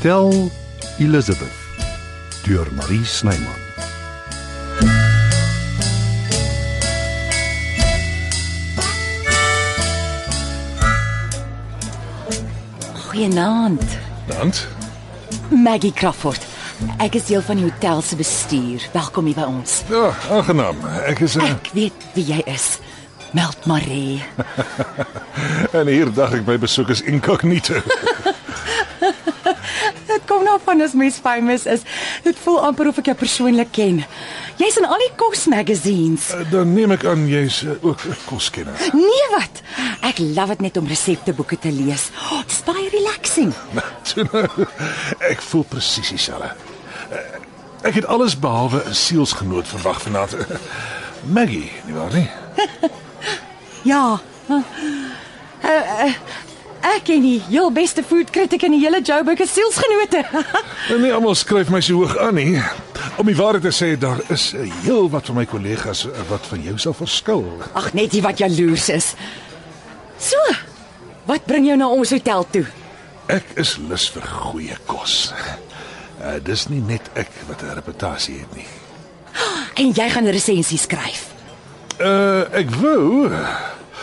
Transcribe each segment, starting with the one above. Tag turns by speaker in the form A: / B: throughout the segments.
A: Tel Elizabeth deur Marie Snyman.
B: Goeienaand.
C: Hand.
B: Maggie Crawford. Ek is deel van die hotel se bestuur. Welkom hier by ons.
C: Ja, aangenaam. eh, Ek is 'n
B: Ek weet wie jy is. Meld Marie.
C: en hier dacht ik bij bezoekers incognito.
B: Dit kom nou van as mens famous is. Dit voel amper of ek jou persoonlik ken. Jy's in al die kos magazines.
C: Eh, Dan neem ik aan jy's eh, ook 'n koskenner.
B: Nee wat? Ek love dit net om resepteboeke te lees. Oh, It's baie relaxing.
C: Toe nou, Ek voel presies dieselfde. Eh, Ek het alles behalwe 'n sielsgenoot verwag vanaand. Maggie, nie waar nie?
B: Ja. Uh, uh, ek ken die heel beste food critic in die hele Joburg se sielsgenote.
C: En nie almal skryf my so hoog aan nie. Om die waarheid te sê, daar is eh, heel wat van my kollegas eh, wat van jou sal verskil.
B: Ag net jy wat jaloers is. So, wat bring jou na ons hotel toe?
C: Ek is lus vir goeie kos. Eh dis nie net ek wat 'n reputasie het nie.
B: En jy gaan 'n resensie skryf.
C: Uh, ek wou.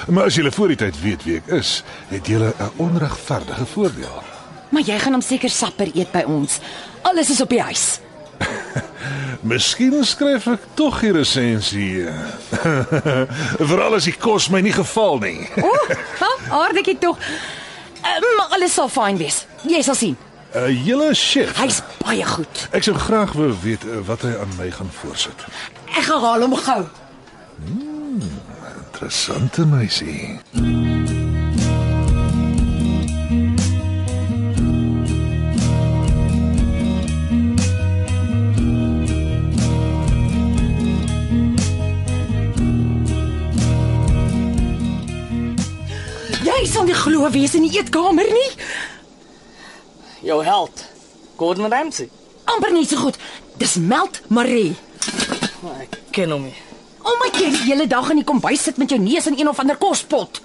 C: Maar as julle voor die tyd weet wie ek is, het julle 'n onregverdige voordeel.
B: Maar jy gaan hom seker sapper eet by ons. Alles is op die huis.
C: Miskien skryf ek tog hier 'n resensie. Veral eh. as die kos my nie geval nie.
B: O, oh, aardikie tog. Eh, Maar alles sal fyn wees. Jy sal sien.
C: Uh, julle chef.
B: Hy's baie goed.
C: Ek sou graag wou weet eh, wat hy aan my gaan voorsit.
B: Ek gaan haal hom gou.
C: Interessante meisie.
B: Jy sal nie glo wie is in die eetkamer nie.
D: Jou held, Gordon Ramsay.
B: Amper nie so goed. Dis Meld Marie.
D: Maar Ek ken hom nie.
B: Omdat jy die hele dag in die kombuis sit met jou neus in een of ander kospot.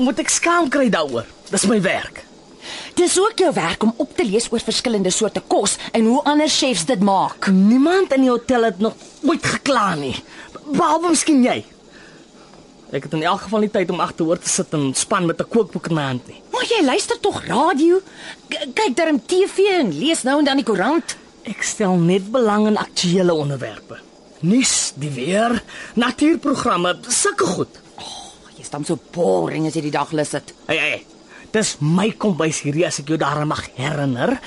D: Moet ek skaam kry daaroor? Dis my werk.
B: Dis ook jou werk om op te lees oor verskillende soorte kos en hoe ander chefs dit maak.
D: Niemand in die hotel het nog ooit gekla nie. Behalwe miskien jy. Ek het in elk geval nie tyd om agteroor te sit en span met 'n kookboek in my hand nie.
B: Maar jy luister tog radio, k- kyk darm TV en lees nou en dan die koerant.
D: Ek stel net belang in aktuële onderwerpe. Nuus, die weer, natuurprogramme, sulke goed.
B: Jy's dan so boring as jy die dag lus sit.
D: Hey hey. Dis my kombuis hierdie as ek jou daaraan mag herinner.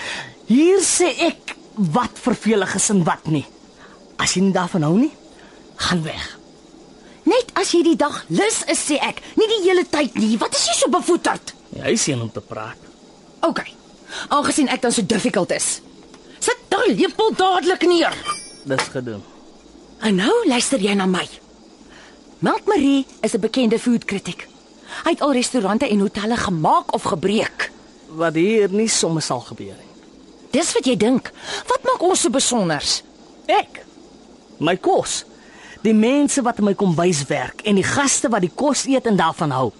D: Hier sê ek wat vervelig is en wat nie. As jy nie daarvan hou nie, gaan weg.
B: Net as jy die dag lus is sê ek, nie die hele tyd nie. Wat is jy so bevoeterd?
D: Jy Ja, is een om te praat.
B: OK. Aangesien ek dan so difficult is. Sit daai lepel dadelik neer.
D: Dis gedoen.
B: En nou luister jy na my. Melt Marie is 'n bekende food critic. Hy het al restaurante en hotelle gemaak of gebreek.
D: Wat hier nie sommer sal gebeur nie.
B: Dis wat jy dink. Wat maak ons so besonders?
D: Ek my kos. Die mense wat in my kombuis werk en die gaste wat die kos eet en daarvan hou.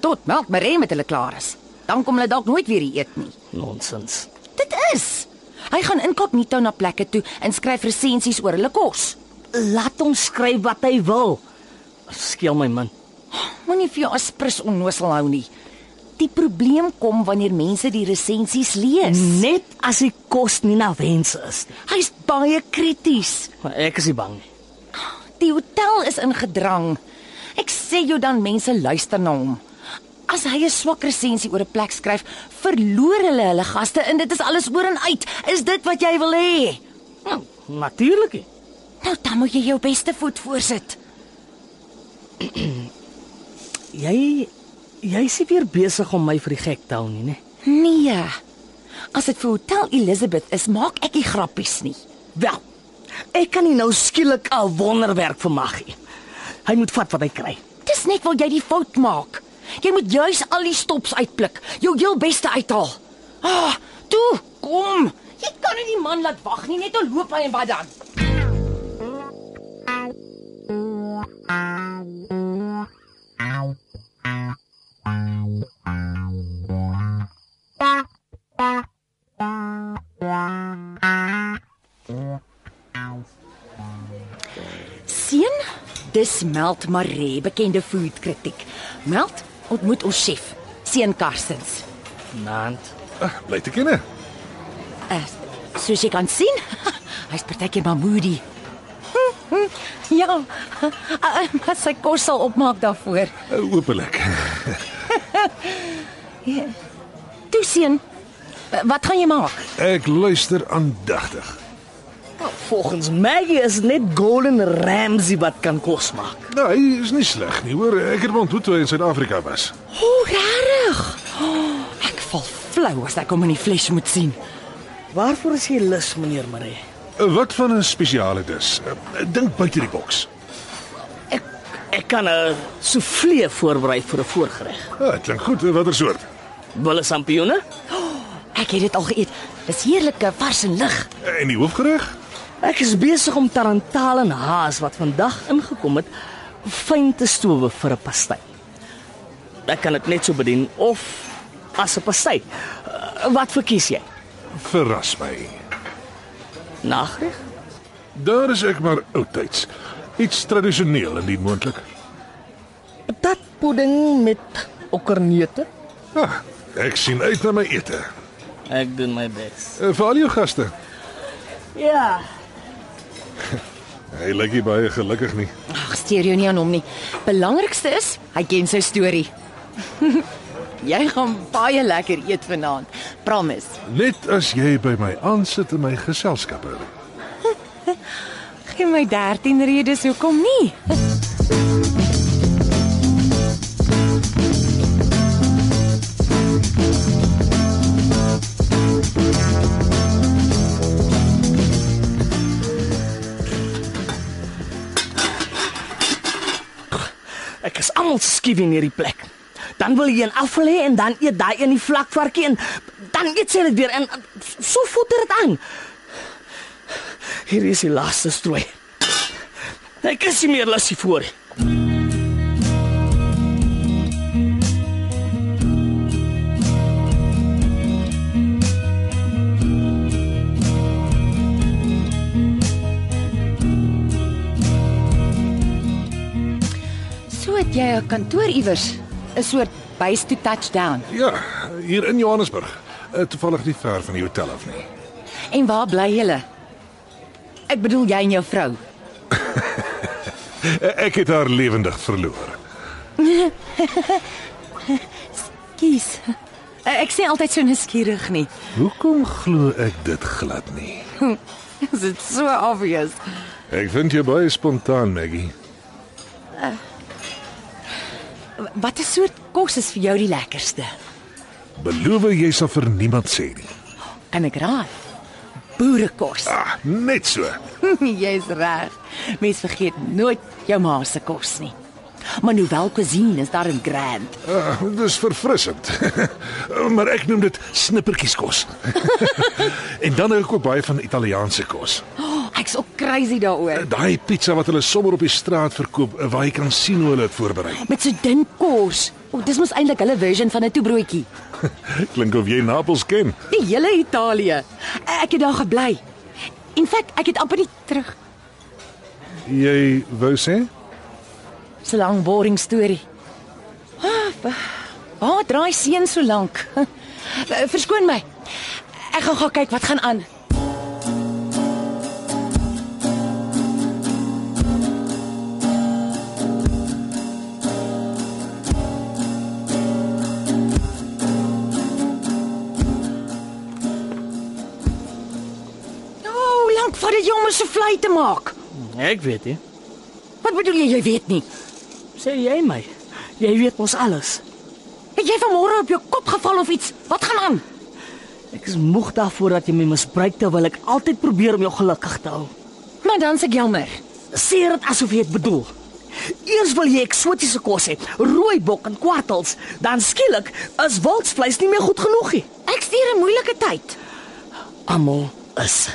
B: Tot melk Marie met hulle klaar is. Dan kom hulle dalk nooit weer hier eet nie.
D: Nonsens.
B: Dit is. Hy gaan inkognito na plekke toe en skryf resensies oor hulle kos.
D: Laat hom skryf wat hy wil. Skeel my man.
B: Moenie vir jou aspres onnosel hou nie. Die probleem kom wanneer mense die resensies lees.
D: Net as die kos nie na wens is nie.
B: Hy's baie krities.
D: Maar ek is nie bang nie.
B: Die hotel is in gedrang. Ek sê jou dan mense luister na hom. As hy 'n swak resensie oor 'n plek skryf, verloor hulle hulle gaste en dit is alles oor en uit. Is dit wat jy wil hê?
D: Nou, natuurlik. nie.
B: Nou dan moet jy jou beste voet voorsit.
D: Jy jy is nie weer besig om my vir die gek te hou nie, né?
B: Nee. As dit vir Hotel Elizabeth is, maak ek nie grappies nie.
D: Wel. Ek kan nie nou skielik 'n wonderwerk vermag nie. Hy moet vat wat hy kry.
B: Dis net waar jy die fout maak. Jy moet juis al die stops uitpluk, jou heel beste uithaal. Ah, toe, kom. Jy kan nie die man laat wag nie, net al loop hy en wat dan? Dis Meld Maree, bekende foodkritiek. Meld ontmoet ons chef, Sean Karstens.
D: Nant.
C: Ah, bly te ken.
B: Uh, soos jy kan sien, hy's partykeer maar moody. ja, uh, uh, maar sy kos sal opmaak daarvoor.
C: Uh, openlik.
B: Toe seun, uh, wat gaan jy maak?
C: Ek luister aandagtig.
D: Volgens Maggie is het net Golden Ramsay wat kan kos maak.
C: Nou, hy is nie sleg nie, hoor. Ek het hom ontmoet toe hy in Suid-Afrika was.
B: O, oh, regtig? Oh, ek val flou as ek hom in die fles moet sien.
D: Waarvoor is jy lus, meneer Maree?
C: Uh, Wat van 'n spesiale dis? Uh, Dink buite die boks.
D: Ek ek kan 'n soufflé voorberei vir 'n voorgereg.
C: Ah, dit klink goed. Uh, Watter soort?
D: Wille sampioene?
B: Ek het dit al geëet. Dis heerlike vars en lig.
C: Uh, En die hoofgereg?
D: Ek is besig om tarantaal en haas wat vandag ingekom het fyn te stowe vir 'n pastei. Ek kan dit net so bedien of as 'n pastei. Eh, Wat verkies jy?
C: Verras my.
D: Nagreg?
C: Daar is ek maar oudtyds. Iets tradisioneel indien moontlik.
D: Patatpudding met okkerneute?
C: Ah, ek sien uit na my ete.
D: Ek doen my bes.
C: Uh, vir al jou gaste.
D: Ja.
C: Hy lyk nie baie gelukkig nie.
B: Ag, steur jou nie aan hom nie. Belangrikste is, hy ken sy storie. jy gaan baie lekker eet vanaand. Promise.
C: Net as jy by my aansit in my geselskap hou.
B: Geen my 13 redes hoekom nie.
D: Ek is almal skief in hierdie plek. Dan wil jy een afval hê en dan eet daai een die vlakvarkie en dan eet sy dit weer en en so voeter dit aan. Hier is die laaste strooi. Ek is nie meer lasie voor.
B: So het jy 'n kantoor iewers, 'n soort base to touchdown.
C: Ja, hier in Johannesburg. Uh, Toevallig nie ver van die hotel af nie.
B: En waar bly julle? Ek bedoel jy en jou vrou.
C: Uh, Ek het haar lewendig verloor.
B: Kies. Eh, Ek sien altyd so nuuskierig nie.
C: Hoekom glo ek dit glad nie?
B: Is dit so obvious?
C: Ek vind jou baie spontaan, Maggie.
B: Watter soort kos is vir jou die lekkerste?
C: Beloof jy sal vir niemand sê nie.
B: Kan ek raai? Boerekos.
C: Ah, net so.
B: Jy's reg. Mens vergeet nooit jou ma se kos nie. Maar hoewel kusine is daar in Grand.
C: Uh, dis verfrissend. maar ek noem dit snippertjieskos. en dan hou ek ook baie van Italiaanse kos.
B: Oh, ek's ook crazy daaroor.
C: Daai pizza wat hulle sommer op die straat verkoop, eh, waar jy kan sien hoe hulle dit voorberei.
B: Met so dun kos. O, oh, dis mos eintlik hulle version van 'n toebroodjie.
C: Klink of jy Napels ken.
B: Die hele Italië. E-, Ek het daar gebly. In feite, ek het amper nie terug
C: Jy wou sê?
B: so lank boring storie. Ah, oh, draai seën so lank. Verskoon my. Ek gaan gaan kyk wat gaan aan. Nou, hoe lank vat dit jou om 'n soufflé te maak?
D: Ek weet nie.
B: Wat bedoel jy jy weet nie?
D: Sê jy my? Jy weet mos alles.
B: Het jy vanmôre op jou kop geval of iets? Wat gaan aan?
D: Ek is moeg daarvoor dat jy my misbruik terwyl ek altyd probeer om jou gelukkig te hou.
B: Maar dan se ek jammer.
D: Sê dit asof jy dit bedoel. Eers wil jy eksotiese kos hê, rooi bok en kwartels, dan skielik is wildsvleis nie meer goed genoeg nie.
B: Ek stuur 'n moeilike tyd.
D: almal is.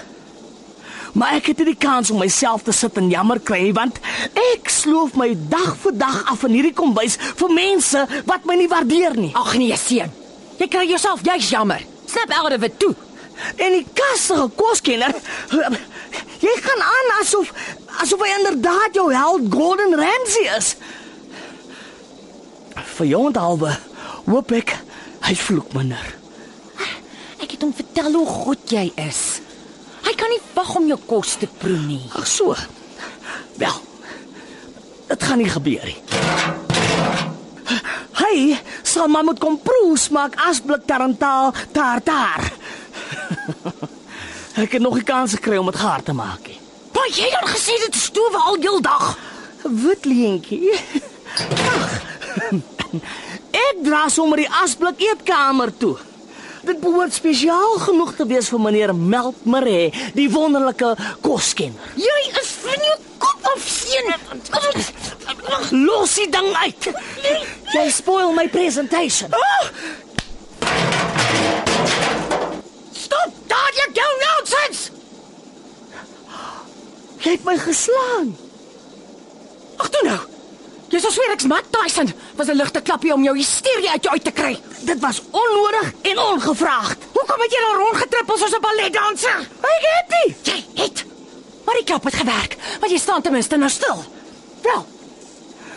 D: Maar ek het nie die kans om myself te sit en jammer kry nie, want ek sloof my dag vir dag af in hierdie kombuis vir mense wat my nie waardeer nie.
B: Ag nee, seun. Jy kry jouself jy's jammer. Snap out of it toe.
D: En die kastige koskenner, jy gaan aan asof asof hy inderdaad jou held Gordon Ramsay is. Vir jou onthaalwe, hoop ek hy vloek minder.
B: Ek het hom vertel hoe goed jy is. Hy kan nie wag om jou kos te proe nie.
D: Ag so. Wel. Dit gaan nie gebeur nie. Hy sal maar moet kom proe smaak asblik tarantaal tartaar. Ek het nog nie kans gekry om dit gaar te maak nie.
B: Maar jy het dan gesê dit stoewe al heel dag.
D: Wit leentjie. Ag. Ek dra sommer die asblik eetkamer toe. Dit behoort spesiaal genoeg te wees vir meneer Melk Maree, die wonderlike koskenner.
B: Jy is van jou kop af seën.
D: Los die ding uit. Jy spoil my presentation.
B: Stop dadelik jou nonsens.
D: Jy het my geslaan.
B: Ag toe nou. Jy sou swer ek's Matt Tyson was 'n ligte klappie om jou hysterie uit jou uit te kry.
D: Dit was onnodig en ongevraagd.
B: Hoekom het jy nou rondgetrippel soos 'n balletdanser?
D: Ek het nie.
B: Jy het. Maar die klap het gewerk, want jy staan ten minste nou stil.
D: Wel.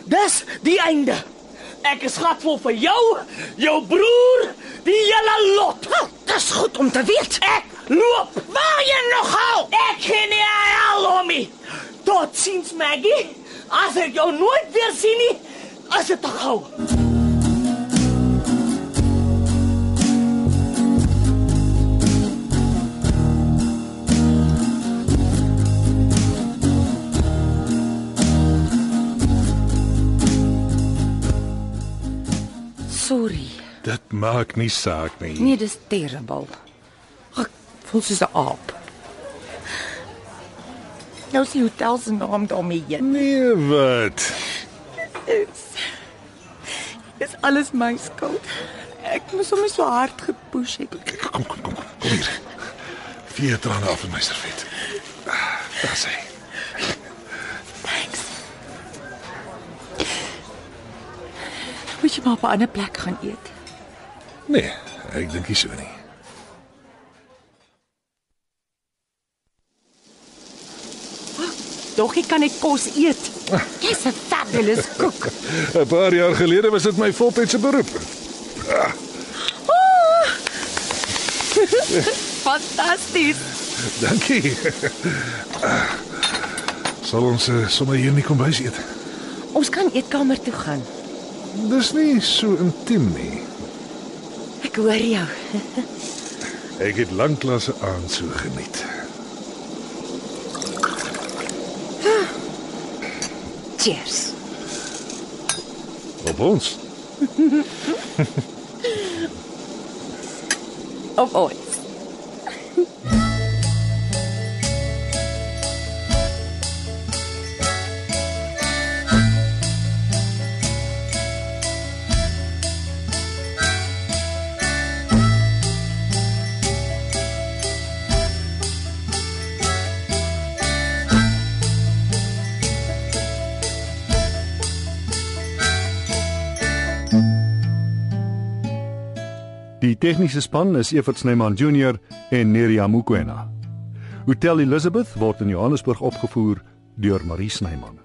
D: Dis Dus, die einde. Ek is gatvol vir jou, jou broer, die hele lot.
B: Wel, dis goed om te weet.
D: Ek loop.
B: Waar jy nog hou?
D: Ek ken nie al om nie. Tot sins Maggie. As ek jou nooit weer sien nie, as dit te gou.
B: Sorry.
C: Dit maak nie saak nie.
B: Nee, dis terrible. Ag, ek voel soos 'n aap. Nou is die hotel se naam daarmee heen.
C: Nee, wat?
B: Dis alles my skuld. Ek moes hom so hard gepush het.
C: Kyk, kom, kom, kom, kom, kom hier. Vier trane af in my servet. Daar sê.
B: Thanks. Moet jy maar op 'n ander plek gaan eet?
C: Nee, ek dink nie so nie.
B: Doggie kan net kos eet. Jy's 'n fabulous cook.
C: 'n Paar jaar gelede was dit my voltydse beroep.
B: Fantasties.
C: Dankie. Sal ons eh, sommer hier in die kombuis eet.
B: Ons kan eetkamer toe gaan.
C: Dis nie so intiem nie.
B: Ek hoor jou.
C: Ek het lanklasse aan so geniet.
B: Cheers.
C: Op ons.
B: Of ooit.
A: Die tegniese span is Evert Snyman Junior en Neriya Mukwena. Hotel Elizabeth word in Johannesburg opgevoer deur Marie Snyman.